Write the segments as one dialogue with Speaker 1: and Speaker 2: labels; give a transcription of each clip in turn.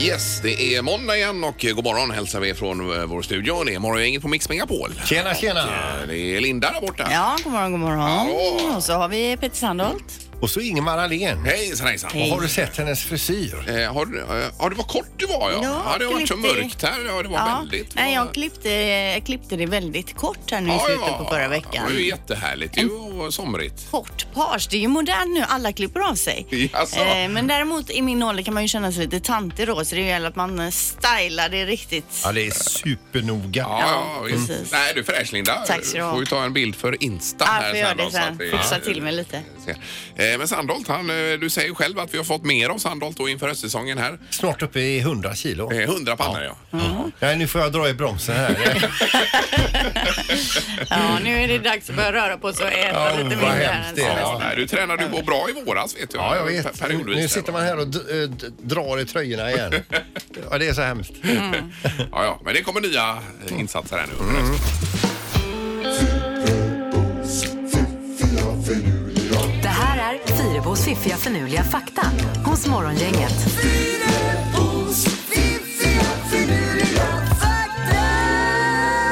Speaker 1: Yes, det är måndag igen och god morgon hälsar vi från eh, vår studio. Det är morgongänget på Mix Megapol.
Speaker 2: Tjena, tjena!
Speaker 1: Eh, Det är Linda där borta.
Speaker 3: Ja, god morgon, god
Speaker 1: Hallå.
Speaker 3: morgon. Och så har vi Peter Sandholt.
Speaker 2: Och så Ingemar Ahlén.
Speaker 1: Hejsan hejsan.
Speaker 3: Hej.
Speaker 2: Har du sett hennes frisyr?
Speaker 1: Eh, har, du- eh, har du vad kort du var ja.
Speaker 3: Ja,
Speaker 1: det har varit så
Speaker 3: klippte.
Speaker 1: mörkt här. Ja, det var
Speaker 3: Ja,
Speaker 1: väldigt.
Speaker 3: nej,
Speaker 1: vad-
Speaker 3: jag klippte, jag klippte det väldigt kort här nu i
Speaker 1: Ja,
Speaker 3: slutet
Speaker 1: ja.
Speaker 3: på förra
Speaker 1: Det
Speaker 3: veckan.
Speaker 1: var ju jättehärligt ju och somrigt.
Speaker 3: Kort page, det är ju modernt nu. Alla klipper av sig.
Speaker 1: Jaså?
Speaker 3: Eh, men däremot i min ålder kan man ju känna sig lite tantig då så det gäller att man eh, stylar det riktigt.
Speaker 2: Ja, det är supernoga.
Speaker 1: Ja, ja, visst.
Speaker 3: precis.
Speaker 1: Nej, du är fräsch Linda.
Speaker 3: Tack ska du ha.
Speaker 1: Får ju ta en bild för Insta
Speaker 3: Ja,
Speaker 1: här
Speaker 3: får göra
Speaker 1: då,
Speaker 3: det
Speaker 1: så
Speaker 3: sen.
Speaker 1: att vi-
Speaker 3: Fixa till mig lite.
Speaker 1: Eh, Men Sandholt, han, eh, du säger ju själv att vi har fått mer av Sandholt då inför höstsäsongen här.
Speaker 2: Snart uppe i 100 kilo. Mm.
Speaker 1: Eh, 100 pannor ja.
Speaker 2: Nej, nu får jag dra i bromsen här.
Speaker 3: Ja, nu är det dags att börja röra på sig och äta
Speaker 2: Ja,
Speaker 3: lite alltså.
Speaker 2: vad
Speaker 3: mindre.
Speaker 2: hemskt
Speaker 3: än
Speaker 2: det är.
Speaker 3: så.
Speaker 1: Ja, nej, du tränade ju på bra i våras vet jag.
Speaker 2: Ja, jag vet.
Speaker 1: Per- Periodvis.
Speaker 2: Nu sitter man här och d- eh, d- drar i tröjorna igen. Ja, det är så hemskt.
Speaker 1: Ja, ja, men det kommer nya eh, insatser här nu.
Speaker 2: Mm.
Speaker 4: Det här är Fyrabos fiffiga förnuliga fakta hos Morgongänget.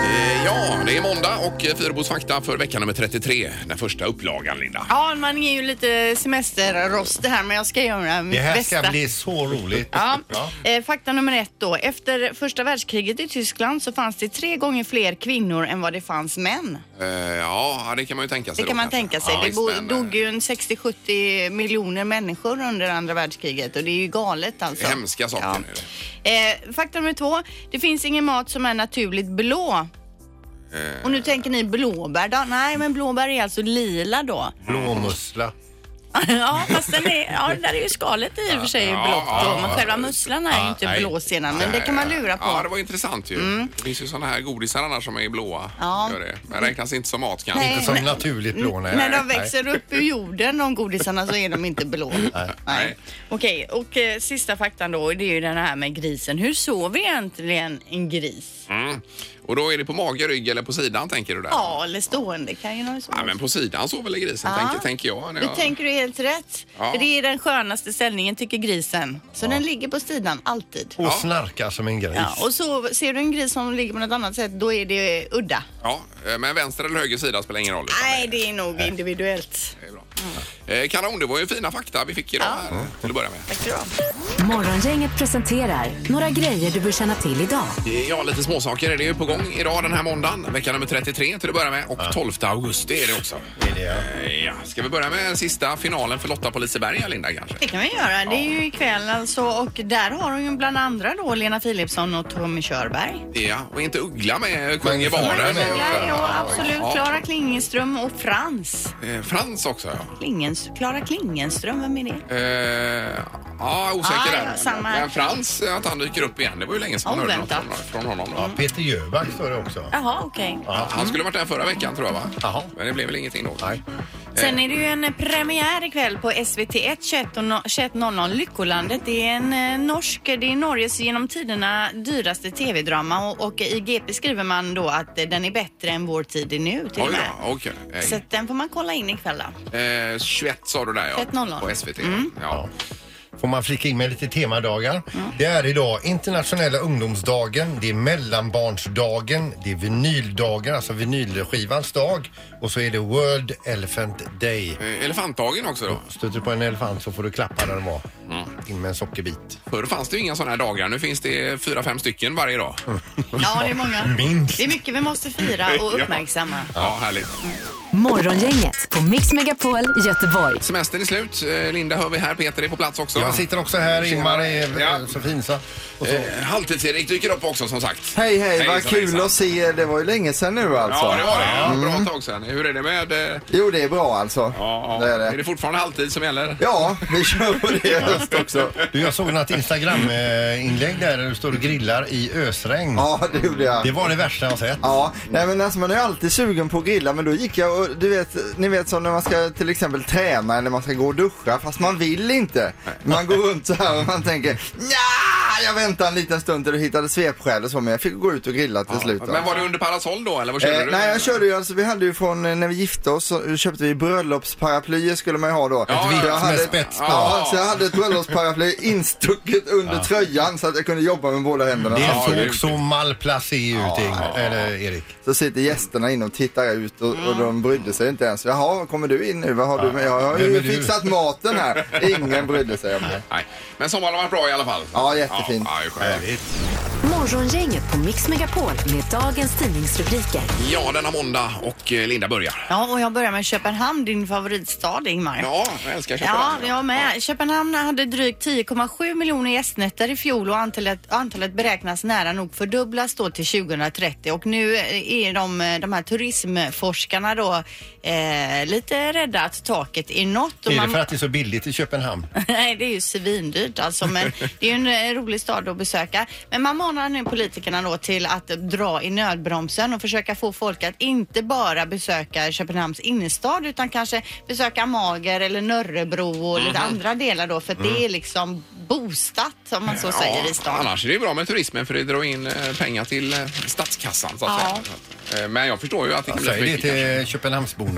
Speaker 1: Eh, Ja, det är måndag och eh, Fyrebos fakta för vecka nummer 33. Den första upplagan, Linda.
Speaker 3: Ja, man är ju lite semesterrost det här men jag ska göra mitt
Speaker 2: Det här
Speaker 3: bästa.
Speaker 2: ska bli så roligt.
Speaker 3: Ja. Eh, fakta nummer ett då. Efter första världskriget i Tyskland så fanns det tre gånger fler kvinnor än vad det fanns män.
Speaker 1: Eh, Ja, det kan man ju tänka sig.
Speaker 3: Det
Speaker 1: då
Speaker 3: kan man
Speaker 1: kanske.
Speaker 3: tänka sig.
Speaker 1: Ja,
Speaker 3: det
Speaker 1: visst,
Speaker 3: bo-
Speaker 1: men, eh,
Speaker 3: dog ju en 60-70 miljoner människor under andra världskriget och det är ju galet alltså.
Speaker 1: Hemska saker.
Speaker 3: Ja. Eh, fakta nummer två. Det finns ingen mat som är naturligt blå.
Speaker 1: Eh.
Speaker 3: Och nu tänker ni blåbär då? Nej, men blåbär är alltså lila då.
Speaker 2: Blåmussla.
Speaker 3: ja, fast den är, ja, där är ju skalet i och för sig
Speaker 1: Ja,
Speaker 3: blått
Speaker 1: ja,
Speaker 3: då, men
Speaker 1: ja.
Speaker 3: själva musslan är ju inte
Speaker 2: nej.
Speaker 3: blå sedan, men det kan man lura på.
Speaker 1: Ja, det var intressant ju. Det finns ju såna här godisar annars som är blåa.
Speaker 3: Mm. Ja.
Speaker 1: Gör det. Men räknas inte som mat kanske.
Speaker 3: Nej.
Speaker 2: Inte som naturligt blå. Nej.
Speaker 3: När de
Speaker 2: Nej.
Speaker 3: växer upp ur jorden, de godisarna, så är de inte blå. Nej.
Speaker 1: Nej.
Speaker 3: Okej, och eh, sista faktan då, det är ju den här med grisen. Hur sover egentligen en gris?
Speaker 1: Mm. Och då är det på mage, rygg eller på sidan tänker du där?
Speaker 3: Ja, eller stående kan ju någon sova.
Speaker 1: Ja, men på sidan sover väl grisen
Speaker 3: Ja.
Speaker 1: tänker, tänker jag. När
Speaker 3: Det
Speaker 1: jag...
Speaker 3: tänker du helt rätt.
Speaker 1: Ja.
Speaker 3: För det är den skönaste ställningen tycker grisen. Så den ligger på sidan alltid.
Speaker 2: Och snarkar som en gris.
Speaker 3: Ja, och så ser du en gris som ligger på något annat sätt, då är det eh, udda.
Speaker 1: Ja, eh, men vänster eller höger sida spelar ingen roll. utan
Speaker 3: Nej, det är nog individuellt.
Speaker 1: det är bra. Eh, Kanon, det var ju fina fakta vi fick idag här, till att börja med.
Speaker 3: Tack ska du ha.
Speaker 4: Morgongänget presenterar några grejer du bör känna till idag.
Speaker 1: Ja, lite småsaker är det ju på gång idag den här måndagen. Vecka nummer 33 till att börja med och 12 augusti är det också.
Speaker 2: Är det, ja.
Speaker 1: Eh, Ja, ska vi börja med sista finalen för Lotta på Liseberg, Linda kanske?
Speaker 3: Det kan vi göra. Det är ju ikväll alltså och där har hon ju bland andra då Lena Philipsson och Tommy Körberg.
Speaker 1: Ja, och inte Uggla med Kung i
Speaker 2: Men-
Speaker 1: baren.
Speaker 2: Men-
Speaker 3: Ja, ja,
Speaker 1: Ja.
Speaker 3: absolut. Klara Klingenström och Frans.
Speaker 1: Eh, Frans också, ja.
Speaker 3: Klingens, Klara Klingenström, vem är det?
Speaker 1: Eh, ja, osäker
Speaker 3: Ah,
Speaker 1: där.
Speaker 3: ja, samma här.
Speaker 1: Men Frans, eh, att han dyker upp igen. Det var ju länge sedan man hörde något
Speaker 3: Oväntat.
Speaker 1: från från honom. då.
Speaker 2: Peter Jöback står det också.
Speaker 3: Jaha, okej.
Speaker 1: Ja, han skulle varit där förra veckan tror jag va?
Speaker 2: Jaha.
Speaker 1: Men det blev väl ingenting då?
Speaker 2: Nej.
Speaker 1: eh.
Speaker 3: Sen är det ju en premiär ikväll på SVT1 21.00 Lyckolandet. Det är en eh, norsk, det är Norges genom tiderna dyraste tv-drama och, och i GP skriver man då att eh, den är bättre än Vår tid är nu till och
Speaker 1: Oj
Speaker 3: med.
Speaker 1: då, okej. Eh,
Speaker 3: Så att den får man kolla in ikväll då.
Speaker 1: Eh, 21 sa du där ja.
Speaker 3: 21.00.
Speaker 1: På SVT.
Speaker 3: Mm.
Speaker 1: Ja.
Speaker 2: Får man flika in med lite temadagar? Det är idag internationella ungdomsdagen, det är mellanbarnsdagen, det är vinyldagen, alltså vinylskivans dag och så är det World Elephant Day.
Speaker 1: Eh, Elefantdagen också då.
Speaker 2: Stöter du på en elefant så får du klappa där den var. In med en sockerbit.
Speaker 1: Förr fanns det ju inga sådana här dagar. Nu finns det fyra, fem stycken varje dag.
Speaker 3: Ja, det är många.
Speaker 2: Minst.
Speaker 3: Det är mycket vi måste fira och uppmärksamma.
Speaker 1: Ja, härligt.
Speaker 4: Morgongänget på Mix Megapol Göteborg.
Speaker 1: Semestern är slut. Eh, Linda hör vi här. Peter är på plats också.
Speaker 2: Jag sitter också här, Ingmar är
Speaker 1: Ja.
Speaker 2: ja. så finsa. Och så.
Speaker 1: Eh, Halvtids-Erik dyker upp också som sagt.
Speaker 5: Hej hej, vad
Speaker 1: Hejsan,
Speaker 5: kul
Speaker 1: hejsan.
Speaker 5: att se er. Det var ju länge sedan nu alltså.
Speaker 1: Ja, det var det. Ja, Bra tag sedan. Hur är det med... eh, Ja,
Speaker 5: Jo, det är bra alltså.
Speaker 1: ja.
Speaker 5: Det är
Speaker 1: Är
Speaker 5: det.
Speaker 1: det fortfarande halvtid som gäller?
Speaker 5: Ja, vi kör på det i höst också.
Speaker 2: Du, jag såg något Instagram-inlägg där du står och grillar i ösregn.
Speaker 5: Ja, det gjorde
Speaker 2: Det
Speaker 5: jag.
Speaker 2: var det värsta jag sett.
Speaker 5: Ja, nej men alltså man är ju alltid sugen på att grilla men då gick jag och du vet, ni vet som när man ska till exempel träna eller man ska gå och duscha fast man vill inte. Man går runt så här och man tänker ja, ah, jag väntade en liten stund till du hittade svepskäl och så, men jag fick gå ut och grilla till slut. då.
Speaker 1: Men var det under parasoll då eller vad körde
Speaker 5: Eh,
Speaker 1: du?
Speaker 5: nej, jag körde ju alltså, vi hade ju från eh, när vi gifte oss så köpte vi bröllopsparaplyer skulle man ju ha då.
Speaker 1: Ett vitt
Speaker 5: Så jag
Speaker 1: med
Speaker 5: hade-
Speaker 2: spets på.
Speaker 5: Ja, så jag hade ett bröllopsparaply instucket under tröjan så att jag kunde jobba med båda händerna.
Speaker 2: Det
Speaker 1: Ja, det är
Speaker 2: såg så malplacé ut, Ingmar, eller Erik.
Speaker 5: Så sitter gästerna inne och tittar ut och,
Speaker 1: Mm.
Speaker 5: och de brydde sig inte ens. Jaha, kommer du in nu? Vad har du med? Jag har
Speaker 2: Vem är
Speaker 5: ju
Speaker 2: du?
Speaker 5: fixat maten här. Ingen brydde sig om det.
Speaker 1: Nej. Men sommaren har varit bra i alla fall.
Speaker 5: Ja, jättefint.
Speaker 1: Ja, ja, det är skönt.
Speaker 2: Härligt.
Speaker 4: Morgongänget på Mix Megapol med dagens tidningsrubriker.
Speaker 1: ja, denna måndag och eh, Linda börjar.
Speaker 3: Ja, och jag börjar med Köpenhamn, din favoritstad Ingmar.
Speaker 1: Ja, jag älskar
Speaker 3: Ja,
Speaker 1: Köpenhamn.
Speaker 3: jag med. Köpenhamn hade drygt 10,7 miljoner gästnätter i fjol och antalet, antalet beräknas nära nog fördubblas då till 2030. Och nu är de, de här turismforskarna då eh, lite rädda att taket är nått. Och
Speaker 2: Är det för att det är så billigt i Köpenhamn?
Speaker 3: Nej, det är ju svindyrt alltså, men det är ju en eh, rolig stad att besöka. Men man manar nu politikerna då till att dra i nödbromsen och försöka få folk att inte bara besöka Köpenhamns innerstad utan kanske besöka Mager eller Nörrebro och
Speaker 1: Mhm.
Speaker 3: lite andra delar då för att det är liksom boostat om man så säger i stan.
Speaker 1: Mm. annars är det ju bra med turismen för det drar in eh, pengar till eh, statskassan så att
Speaker 3: Ja.
Speaker 1: säga. Så att, eh, Men jag förstår ju att det kan bli för
Speaker 2: Säg Alltså, det
Speaker 1: mycket. kanske.
Speaker 2: till Köpenhamnsborna.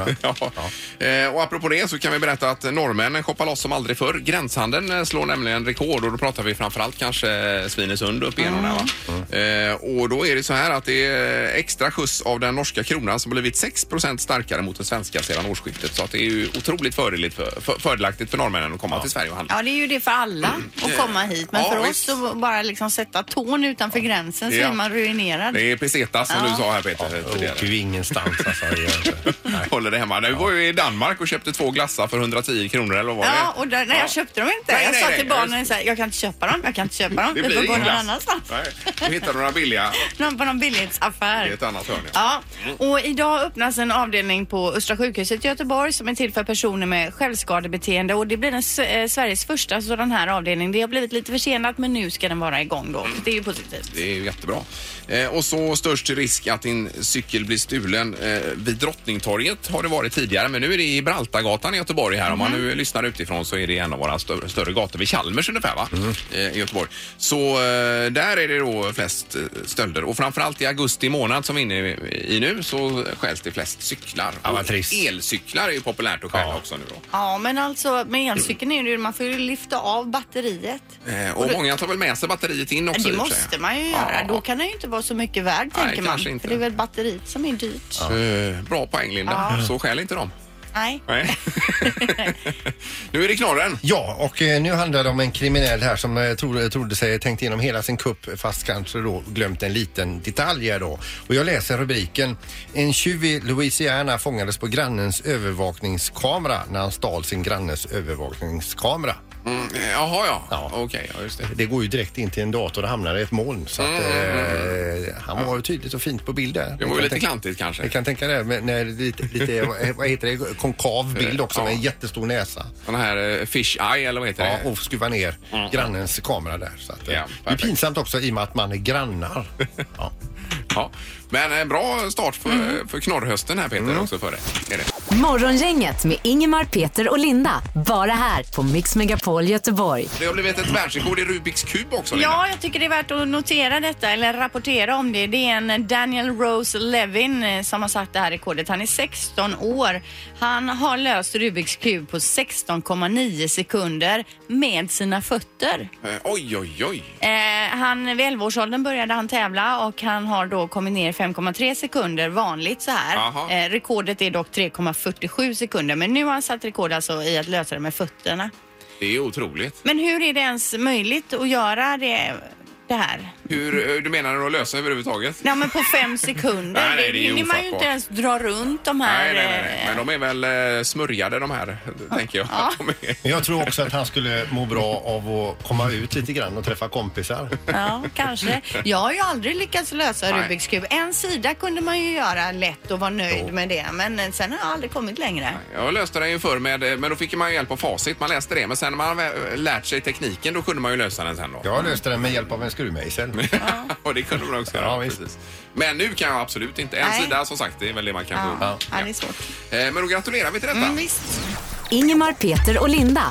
Speaker 1: Ja. Eh, Och apropå det så kan vi berätta att norrmännen shoppar loss som aldrig förr. Gränshandeln eh, slår nämligen rekord och då pratar vi framförallt kanske eh, Svinesund upp igenom där
Speaker 3: Mm.
Speaker 1: va.
Speaker 2: Mm.
Speaker 1: Eh, Och då är det så här att det är extra skjuts av den norska kronan som blivit 6 starkare mot den svenska sedan årsskiftet. Så att det är ju otroligt fördeligt för, för, fördelaktigt för norrmännen att komma till Sverige och handla.
Speaker 3: Ja, det är ju det för alla att komma hit. Men
Speaker 1: Mm. Ja,
Speaker 3: för oss
Speaker 1: visst.
Speaker 3: så bara liksom sätta tån utanför gränsen så
Speaker 1: Ja.
Speaker 3: är man ruinerad.
Speaker 1: Det är peseta som
Speaker 3: Ja.
Speaker 1: du sa här Peter. tidigare.
Speaker 2: Åker ju ingenstans alltså. egentligen.
Speaker 1: Håller det hemma. Du var ju i Danmark och köpte två glassar för 110 kronor eller vad var
Speaker 3: Ja,
Speaker 1: det?
Speaker 3: och där, nej, jag köpte dem inte.
Speaker 1: Nej,
Speaker 3: jag
Speaker 1: nej,
Speaker 3: sa
Speaker 1: nej,
Speaker 3: till
Speaker 1: just
Speaker 3: barnen så här, jag kan inte köpa dem, jag kan inte köpa dem.
Speaker 1: Det
Speaker 3: Vi får
Speaker 1: blir
Speaker 3: gå
Speaker 1: ingen
Speaker 3: någon
Speaker 1: glass.
Speaker 3: annanstans.
Speaker 1: Nej, du hittar några billiga
Speaker 3: Någon på någon
Speaker 1: i
Speaker 3: billighetsaffär.
Speaker 1: ett annat Mm. hörn. ja.
Speaker 3: Ja, och idag öppnas en avdelning på Östra sjukhuset i Göteborg som är till för personer med självskadebeteende och det blir den, s- eh, Sveriges första sådan här avdelning. Det har blivit lite försenat men nu ska den vara igång då. Det är ju positivt.
Speaker 1: Mm. Det är ju jättebra. Eh, och så störst risk att din cykel blir stulen eh, vid Drottningtorget har det varit tidigare men nu är det i Braltagatan i Göteborg här. Om man
Speaker 3: Mhm.
Speaker 1: nu lyssnar utifrån så är det en av våra större, större gator vid Chalmers ungefär va?
Speaker 3: Mm.
Speaker 1: Eh, i Göteborg. Så eh, där är det då flest eh, stölder och framförallt i augusti månad som vi är inne i nu så stjäls det flest cyklar.
Speaker 2: Ja, vad
Speaker 1: Och
Speaker 2: trist.
Speaker 1: Elcyklar är ju populärt att stjäla
Speaker 2: Ja.
Speaker 1: också nu då.
Speaker 3: Ja, men alltså med elcykeln är det ju, man får ju lyfta av batteriet.
Speaker 1: Eh, och många tar väl med sig batteriet in också
Speaker 3: Det
Speaker 1: i och för
Speaker 3: måste
Speaker 1: sig.
Speaker 3: man ju
Speaker 1: Ja.
Speaker 3: göra. Då kan det ju inte vara så mycket värd
Speaker 1: Nej,
Speaker 3: tänker man.
Speaker 1: kanske inte.
Speaker 3: För det är väl batteriet som är dyrt.
Speaker 1: Eh, Bra poäng Linda. Så skäl inte dem.
Speaker 3: Nej.
Speaker 1: Nej. nu är det knorren.
Speaker 2: Ja, och eh, nu handlar det om en kriminell här som eh, trodde, trodde sig tänkt igenom hela sin kupp fast kanske då glömt en liten detalj här då. Och jag läser rubriken. En tjuv i Louisiana fångades på grannens övervakningskamera när han stal sin grannes övervakningskamera.
Speaker 1: Mm, eh, jaha, ja.
Speaker 2: Ja.
Speaker 1: Okej, ja, just det.
Speaker 2: Det går ju direkt in till en dator och hamnar i ett moln. Så att, eh, han var ju tydligt och fint på bild där.
Speaker 1: Mm. Det var
Speaker 2: Ni kan
Speaker 1: ju lite
Speaker 2: tänka-
Speaker 1: klantigt kanske.
Speaker 2: Jag kan tänka det, men när det är lite, lite vad- vad heter det, konkav bild också med en jättestor näsa.
Speaker 1: Den här eh, fish eye, eller vad heter
Speaker 2: Ja, oh.
Speaker 1: det?
Speaker 2: och skruva ner grannens kamera där. Så att,
Speaker 1: Ja,
Speaker 2: eh, det är
Speaker 1: perfekt.
Speaker 2: pinsamt också i och med att man är grannar. Ja.
Speaker 1: Ja. Men en bra start för, eh, för knorrhösten här Peter, också för det. Är det.
Speaker 4: Morgongänget med Ingemar, Peter och Linda. Bara här på Mix Megapol Göteborg.
Speaker 1: det har blivit ett världsrekord i Rubiks kub också Linda.
Speaker 3: Ja, jag tycker det är värt att notera detta eller rapportera om det. Det är en Daniel Rose Levin eh, som har satt det här rekordet. Han är 16 år. Han har löst Rubiks kub på 16,9 sekunder med sina fötter.
Speaker 1: Eh, Oj, oj, oj.
Speaker 3: Eh, han, vid 11-årsåldern började han tävla och han har då kommit ner 5,3 sekunder vanligt så
Speaker 1: Aha.
Speaker 3: här. Eh, rekordet är dock 3,47 sekunder men nu har han satt rekord alltså i att lösa det med fötterna.
Speaker 1: Det är otroligt.
Speaker 3: Men hur är det ens möjligt att göra det, det här?
Speaker 1: Hur, eh, du menar att lösa överhuvudtaget?
Speaker 3: Nej men på fem sekunder.
Speaker 1: Nej, nej, det är
Speaker 3: hinner man ju
Speaker 1: ofattbart.
Speaker 3: inte ens dra runt de här.
Speaker 1: Nej, nej, nej, nej.
Speaker 3: eh,
Speaker 1: Men de är väl eh, smörjade de här, tänker jag. att De är.
Speaker 2: Men jag tror också att han skulle må bra av att komma ut lite grann och träffa kompisar.
Speaker 3: Ja, kanske. Jag har ju aldrig lyckats lösa
Speaker 1: Nej.
Speaker 3: Rubiks kub. En sida kunde man ju göra lätt och vara nöjd med det. Men sen har jag aldrig kommit längre.
Speaker 1: Jag löste den ju förr, med, eh, men då fick man ju hjälp av facit. Man läste det, men sen när man väl eh, lärt sig tekniken då kunde man ju lösa den sen då.
Speaker 2: Jag löste det med hjälp av en skruvmejsel.
Speaker 1: och det kunde man också göra.
Speaker 2: Ja, visst.
Speaker 1: precis. Men nu kan jag absolut inte. En
Speaker 3: Nej.
Speaker 1: sida som sagt, det är väl det man kan
Speaker 3: Ja,
Speaker 1: få.
Speaker 3: ja. det är svårt.
Speaker 1: Eh, Men då gratulerar vi till detta.
Speaker 3: Mm, visst.
Speaker 4: Ingemar, Peter och Linda.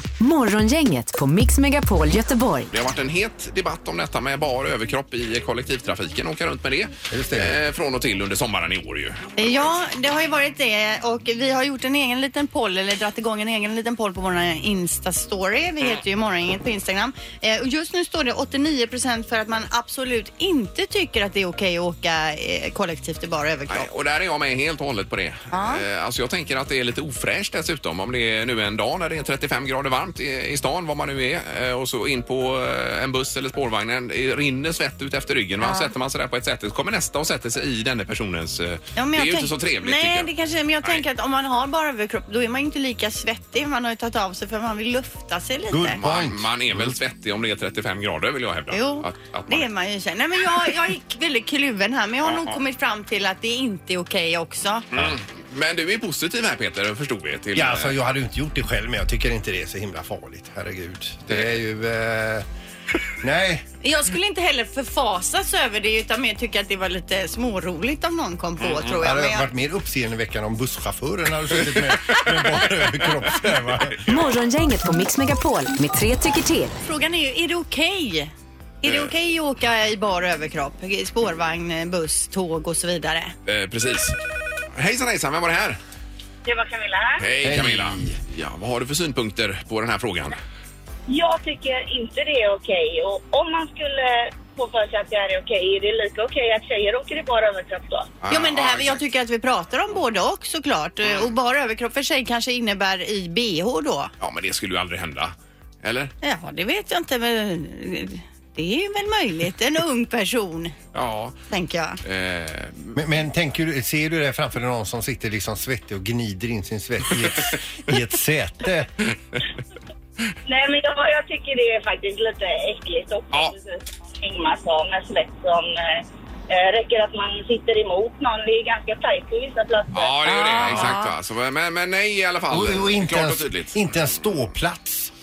Speaker 4: Morgongänget på Mix Megapol Göteborg.
Speaker 1: Det har varit en het debatt om detta med bar överkropp i kollektivtrafiken. Åka runt med det,
Speaker 2: Just det.
Speaker 1: Eh, från och till under sommaren i år ju.
Speaker 3: Ja, det har ju varit det och vi har gjort en egen liten poll eller dragit igång en egen liten poll på vår Insta-story.
Speaker 1: Mm.
Speaker 3: Vi heter ju Morgongänget på Instagram. Eh, och just nu står det 89% för att man absolut inte tycker att det är okej att åka eh, kollektivt i bara
Speaker 1: Nej,
Speaker 3: överkropp.
Speaker 1: och där är jag med helt och hållet på det.
Speaker 3: Ja.
Speaker 1: Eh, Alltså jag tänker att det är lite ofräscht dessutom om det är nu en dag när det är 35 grader varmt i, i stan, var man nu är, eh, och så in på eh, en buss eller spårvagnen, det rinner svett ut efter ryggen. Va? Sätter man sig där på ett sätt, så kommer nästa och sätter sig i denna personens... eh,
Speaker 3: Ja, men
Speaker 1: det är
Speaker 3: jag
Speaker 1: ju
Speaker 3: tänk-
Speaker 1: inte så trevligt tycker
Speaker 3: Nej,
Speaker 1: jag.
Speaker 3: det kanske men jag
Speaker 1: Nej.
Speaker 3: tänker att om man har bara överkropp då är man ju inte lika svettig. Man har ju tagit av sig för man vill lufta sig lite.
Speaker 2: Good point.
Speaker 1: Man, man är väl svettig om det är 35 grader vill jag hävda.
Speaker 3: Jo,
Speaker 1: Att, att man är.
Speaker 3: det är man ju. Sen. Nej, men jag, jag är väldigt kluven här men jag har nog
Speaker 1: Ja.
Speaker 3: kommit fram till att det inte är okej också.
Speaker 1: Mm. Men du är positiv här Peter, förstod vi. Till,
Speaker 2: Ja, alltså, jag hade ju inte gjort det själv, men jag tycker inte det är så himla farligt. Herregud. Det är ju... Eh... Nej.
Speaker 3: Jag skulle inte heller förfasas över det utan mer tycka att det var lite småroligt om någon kom på
Speaker 1: Mm,
Speaker 3: tror
Speaker 2: Det
Speaker 3: jag.
Speaker 2: hade
Speaker 3: Men jag
Speaker 2: varit mer uppseendeväckande om busschauffören hade suttit med, med bara överkropp. så här, va?
Speaker 4: Morgongänget på Mix Megapol med tre tycker till.
Speaker 3: frågan är ju, är det okej? Är
Speaker 1: Eh.
Speaker 3: det okej att åka i bar överkropp? I Spårvagn, buss, tåg och så vidare.
Speaker 1: Eh, precis. Hejsan hejsan, vem var det här?
Speaker 6: Det var Camilla här.
Speaker 1: Hej,
Speaker 2: Hej.
Speaker 1: Camilla. Ja, vad har du för synpunkter på den här frågan?
Speaker 6: Jag tycker inte det är okej. Och om man skulle få för sig att det här är okej, är det lika okej att tjejer åker i bara överkropp då?
Speaker 3: Jo men det
Speaker 1: Ah,
Speaker 3: här, jag
Speaker 1: exakt.
Speaker 3: tycker att vi pratar om både och såklart. Eh, Och bara överkropp för sig kanske innebär i bh då.
Speaker 1: Ja, men det skulle ju aldrig hända. Eller?
Speaker 3: Ja, det vet jag inte men eh, det är väl möjligt. En ung person,
Speaker 1: Ja.
Speaker 3: tänker jag.
Speaker 1: Eh,
Speaker 2: Men, men tänker, du- ser du det framför dig någon som sitter liksom svettig och gnider in sin svett i ett, i ett säte?
Speaker 6: Nej, men jag, jag tycker det är faktiskt lite äckligt också.
Speaker 1: Ja.
Speaker 6: Precis som Ingmar sa med svett som eh, eh, räcker att man sitter emot någon. Det är ganska tajt på vissa platser.
Speaker 1: ja, det är ju
Speaker 3: Ah.
Speaker 1: det. Exakt. Va? Så, men, men nej i alla fall.
Speaker 2: Och, och inte,
Speaker 1: Klart och
Speaker 2: ens,
Speaker 1: tydligt.
Speaker 2: inte en ståplats.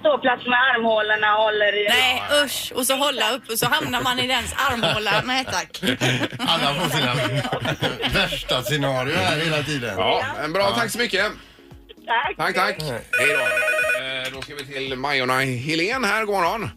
Speaker 6: Ståplats med armhålorna håller i...
Speaker 3: Nej usch, och så hålla upp och så hamnar man i dens armhåla. Nej tack.
Speaker 2: Alla får sina värsta scenarier här hela tiden.
Speaker 1: Ja, men bra. Tack så mycket.
Speaker 6: Tack!
Speaker 1: Tack, tack. Hej då. Eh, då ska vi till Majorna Helén här. God morgon.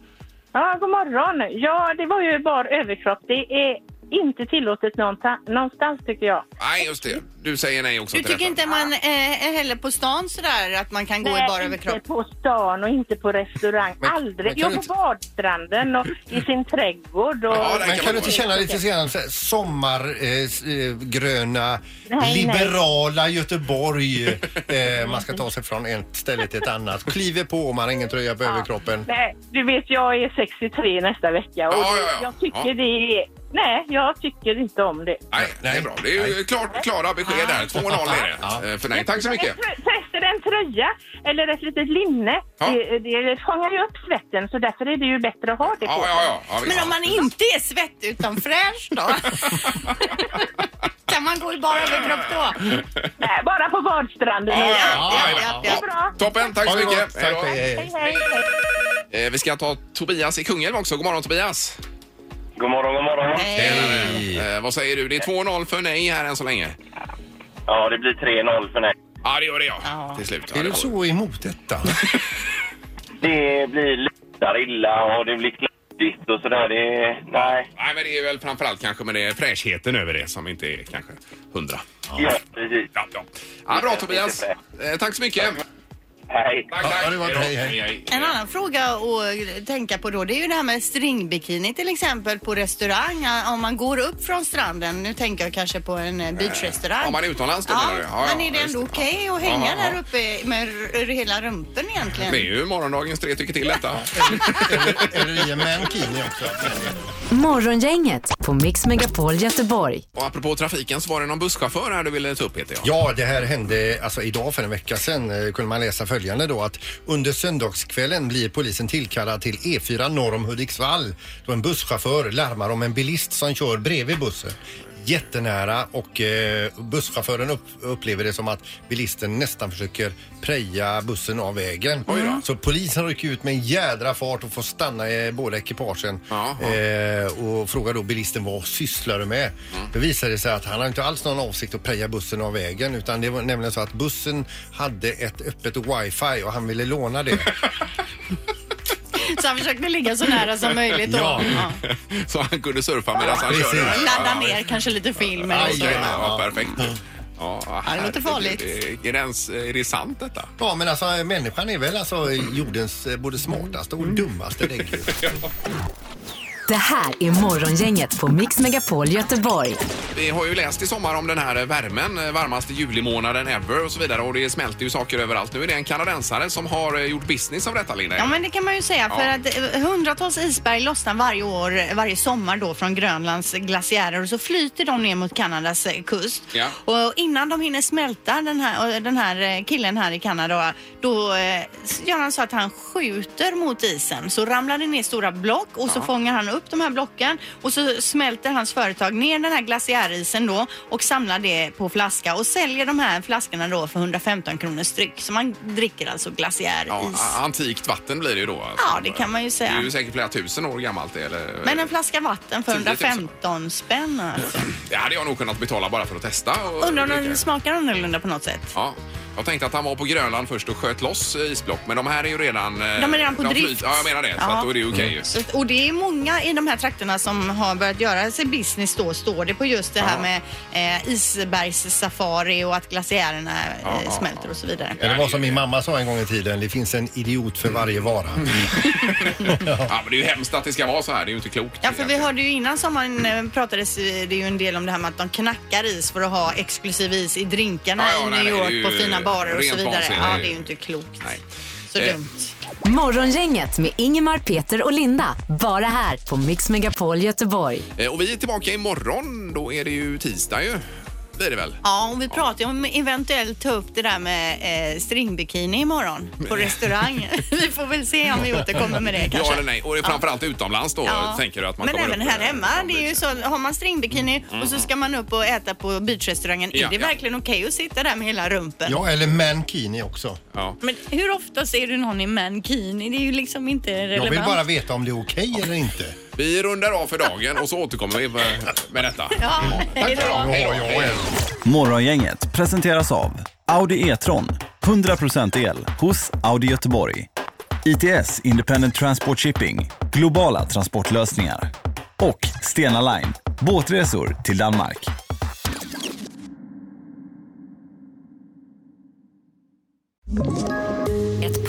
Speaker 7: Ja, god morgon. Ja, det var ju bara överkropp. Det är inte tillåtet någonta- någonstans tycker jag.
Speaker 1: Nej, just det. Du säger nej också
Speaker 3: Du
Speaker 1: till
Speaker 3: tycker
Speaker 1: detta.
Speaker 3: inte man eh, heller på stan sådär att man kan gå i bara
Speaker 7: inte
Speaker 3: överkropp?
Speaker 7: på stan och inte på restaurang.
Speaker 2: Men- men
Speaker 7: Aldrig.
Speaker 2: kan
Speaker 7: Jo,
Speaker 2: du
Speaker 7: på
Speaker 2: inte-
Speaker 7: badstranden och i sin trädgård. Och...
Speaker 1: Ja, det
Speaker 2: Men kan du inte
Speaker 1: vara.
Speaker 2: känna lite senare så här, eh, sommargröna,
Speaker 7: nej.
Speaker 2: liberala Göteborg? Eh, man ska ta sig från ett ställe till ett annat. Kliver på om man har ingen tröja på överkroppen.
Speaker 7: Nej, du vet, jag är 63 nästa vecka och
Speaker 1: Ja,
Speaker 7: det-
Speaker 1: ja, ja.
Speaker 7: jag tycker
Speaker 1: Ja.
Speaker 7: det är... Nej, jag tycker inte om det.
Speaker 1: Nej, det är bra. Det är ju klart, klara besked
Speaker 3: Ah.
Speaker 1: där. 2-0 är det.
Speaker 2: Ja.
Speaker 1: Eh, För nej. Tack så mycket.
Speaker 7: Ett trö- Förresten, en tröja eller ett litet linne,
Speaker 1: Ja.
Speaker 7: det, det fångar ju upp svetten så därför är det ju bättre att ha det på
Speaker 1: Ja,
Speaker 7: sig.
Speaker 1: ja, ja. ja visst.
Speaker 3: Men om man inte är svett utan fräsch då? kan man gå i bara överkropp då?
Speaker 7: Nej, bara på badstranden.
Speaker 1: Ja, ja,
Speaker 3: Ja,
Speaker 1: ja,
Speaker 3: ja,
Speaker 1: ja,
Speaker 3: ja.
Speaker 1: ja. Toppen, tack så
Speaker 2: Ha det
Speaker 1: mycket.
Speaker 2: gott. Tack,
Speaker 1: Hej då.
Speaker 2: hej, hej.
Speaker 7: Hej, hej, hej.
Speaker 1: Eh, Vi ska ta Tobias i Kungälv också. God morgon Tobias.
Speaker 8: God morgon, god morgon.
Speaker 1: Eh, vad säger du? Det är 2-0 för nej här än så länge.
Speaker 8: Ja, det blir 3-0 för nej.
Speaker 1: Ja, det gör det ja.
Speaker 3: Ja.
Speaker 1: Till slut. Ja, det
Speaker 2: Är du
Speaker 1: var-
Speaker 2: så emot detta?
Speaker 8: Det blir luktar illa och det blir kladdigt och sådär. Det, nej.
Speaker 1: Nej, men det är väl framförallt kanske med det fräschheten över det som inte är kanske hundra.
Speaker 8: Ja, precis.
Speaker 1: Ja, ja. ja, bra Tobias. Eh, tack så mycket.
Speaker 8: Hej.
Speaker 1: Tack,
Speaker 2: Ja, det var-
Speaker 1: Hej då.
Speaker 2: hej, hej.
Speaker 3: En annan fråga att tänka på då det är ju det här med stringbikini till exempel på restaurang. Om man går upp från stranden, nu tänker jag kanske på en eh, beachrestaurang.
Speaker 1: Om man är utomlands då menar du? Ja, ja,
Speaker 3: men är det
Speaker 1: just
Speaker 3: ändå
Speaker 1: det.
Speaker 3: okej att
Speaker 1: Ja,
Speaker 3: hänga
Speaker 1: ja, ja.
Speaker 3: där uppe med r- hela rumpen egentligen?
Speaker 1: Det är ju morgondagens tre tycker till detta.
Speaker 2: Eller- Eller i en mankini också.
Speaker 4: Morgongänget på Mix Megapol Göteborg.
Speaker 1: Och apropå trafiken så var det någon busschaufför här du ville ta upp Peter. Ja.
Speaker 2: Ja, det här hände alltså idag för en vecka sedan eh, kunde man läsa följande då att under söndagskvällen blir polisen tillkallad till E E4 norr om Hudiksvall då en busschaufför larmar om en bilist som kör bredvid bussen. jättenära och eh, busschauffören upp, upplever det som att bilisten nästan försöker preja bussen av vägen. Så polisen rycker ut med en jädra fart och får stanna eh, båda ekipagen
Speaker 1: Ja, ja.
Speaker 2: eh, och frågar då bilisten vad sysslar du med? Då visar det sig att han har inte alls någon avsikt att preja bussen av vägen utan det var nämligen så att bussen hade ett öppet wifi och han ville låna det.
Speaker 3: Så han försökte ligga så nära som möjligt. Och,
Speaker 2: Ja.
Speaker 3: ja.
Speaker 1: Så han kunde surfa medan han
Speaker 2: Precis.
Speaker 1: körde.
Speaker 3: Ladda ner kanske lite film eller
Speaker 1: Ja,
Speaker 3: så.
Speaker 1: ja, ja, perfekt. Ja,
Speaker 3: det låter farligt.
Speaker 1: herregud. Är det, ens, är det sant detta?
Speaker 2: Ja, men alltså människan är väl alltså jordens eh, både smartaste och dummaste däggdjur.
Speaker 4: Det här är Morgongänget på Mix Megapol Göteborg.
Speaker 1: Vi har ju läst i sommar om den här värmen, eh, varmaste julimånaden ever och så vidare och det smälter ju saker överallt. Nu är det en kanadensare som har eh, gjort business av detta, Linda.
Speaker 3: Ja men det kan man ju säga för
Speaker 1: Ja.
Speaker 3: att eh, hundratals isberg lossnar varje år, eh, varje sommar då från Grönlands glaciärer och så flyter de ner mot Kanadas eh, kust.
Speaker 1: Ja.
Speaker 3: Och innan de hinner smälta den här, och den här eh, killen här i Kanada då eh, gör han så att han skjuter mot isen så ramlar det ner stora block och så fångar han upp de här blocken och så smälter hans företag ner den här glaciärisen då och samlar det på flaska och säljer de här flaskorna då för 115 kronor styck. Så man dricker alltså glaciäris.
Speaker 1: Ja, a- antikt vatten blir det ju då. alltså.
Speaker 3: Ja, det kan man ju
Speaker 1: Det är
Speaker 3: säga.
Speaker 1: ju säkert flera tusen år gammalt det, eller?
Speaker 3: Men eh, en flaska vatten för
Speaker 1: 10 000.
Speaker 3: 115 spänn alltså.
Speaker 1: Det hade jag nog kunnat betala bara för att testa. och-
Speaker 3: Undrar om
Speaker 1: dricka.
Speaker 3: den smakar annorlunda på något sätt.
Speaker 1: Ja. Jag tänkte att han var på Grönland först och sköt loss eh, isblock, men de här är ju redan... eh, De
Speaker 3: är redan på drift.
Speaker 1: Ja, jag menar det. Så
Speaker 3: Ja.
Speaker 1: att då är det ju okej. ju.
Speaker 3: Så, att- och det är många i de här trakterna som har börjat göra sig business då, står det på just det här
Speaker 1: Ja.
Speaker 3: med eh, isbergssafari och att glaciärerna
Speaker 1: Ja, ja,
Speaker 3: eh, smälter och så vidare.
Speaker 2: Eller vad som min mamma sa en gång i tiden, det finns en idiot för varje vara.
Speaker 1: Ja, men det är ju hemskt att det ska vara så här. Det är ju inte klokt.
Speaker 3: Ja, för vi hörde ju innan sommaren eh, pratades eh, det ju en del om det här med att de knackar is för att ha exklusiv is i drinkarna
Speaker 1: Ja, ja,
Speaker 3: i
Speaker 1: nej,
Speaker 3: New
Speaker 1: nej, det är
Speaker 3: York
Speaker 1: ju
Speaker 3: på fina barer och så
Speaker 1: rent
Speaker 3: vidare.
Speaker 1: vansinne.
Speaker 3: Ja, det är ju inte klokt.
Speaker 1: Nej.
Speaker 3: Så
Speaker 1: Eh,
Speaker 3: dumt.
Speaker 4: Morgongänget med Ingemar, Peter och Linda. Bara här på Mix Megapol Göteborg.
Speaker 1: Eh, Och vi är tillbaka imorgon. Då är det ju tisdag ju. Det är det väl?
Speaker 3: Ja, och vi pratar ju om eventuellt ta upp det där med eh, stringbikini imorgon på restaurang. vi får väl se om vi återkommer med det kanske.
Speaker 1: Mm. Ja eller nej. Och det är framförallt utomlands då
Speaker 3: Ja.
Speaker 1: tänker du att man
Speaker 3: Men
Speaker 1: kommer
Speaker 3: även
Speaker 1: upp eh,
Speaker 3: här
Speaker 1: med-
Speaker 3: hemma, det är ju så, har man stringbikini och så ska man upp och äta på beachrestaurangen,
Speaker 1: Mm. Ja,
Speaker 3: är det
Speaker 1: ja.
Speaker 3: verkligen okej att sitta där med hela rumpen?
Speaker 2: Ja, eller mankini också.
Speaker 1: Ja.
Speaker 3: Men hur ofta ser du någon i mankini? Det är ju liksom inte relevant.
Speaker 2: Jag vill bara veta om det är okej eller inte.
Speaker 1: Vi rundar av för dagen och så återkommer vi med- med detta.
Speaker 3: Ja, hej då.
Speaker 9: Morgongänget presenteras av Audi E-tron. 100% el hos Audi Göteborg. ITS Independent Transport Shipping. Globala transportlösningar. Och Stena Line. Båtresor till Danmark.
Speaker 4: Ett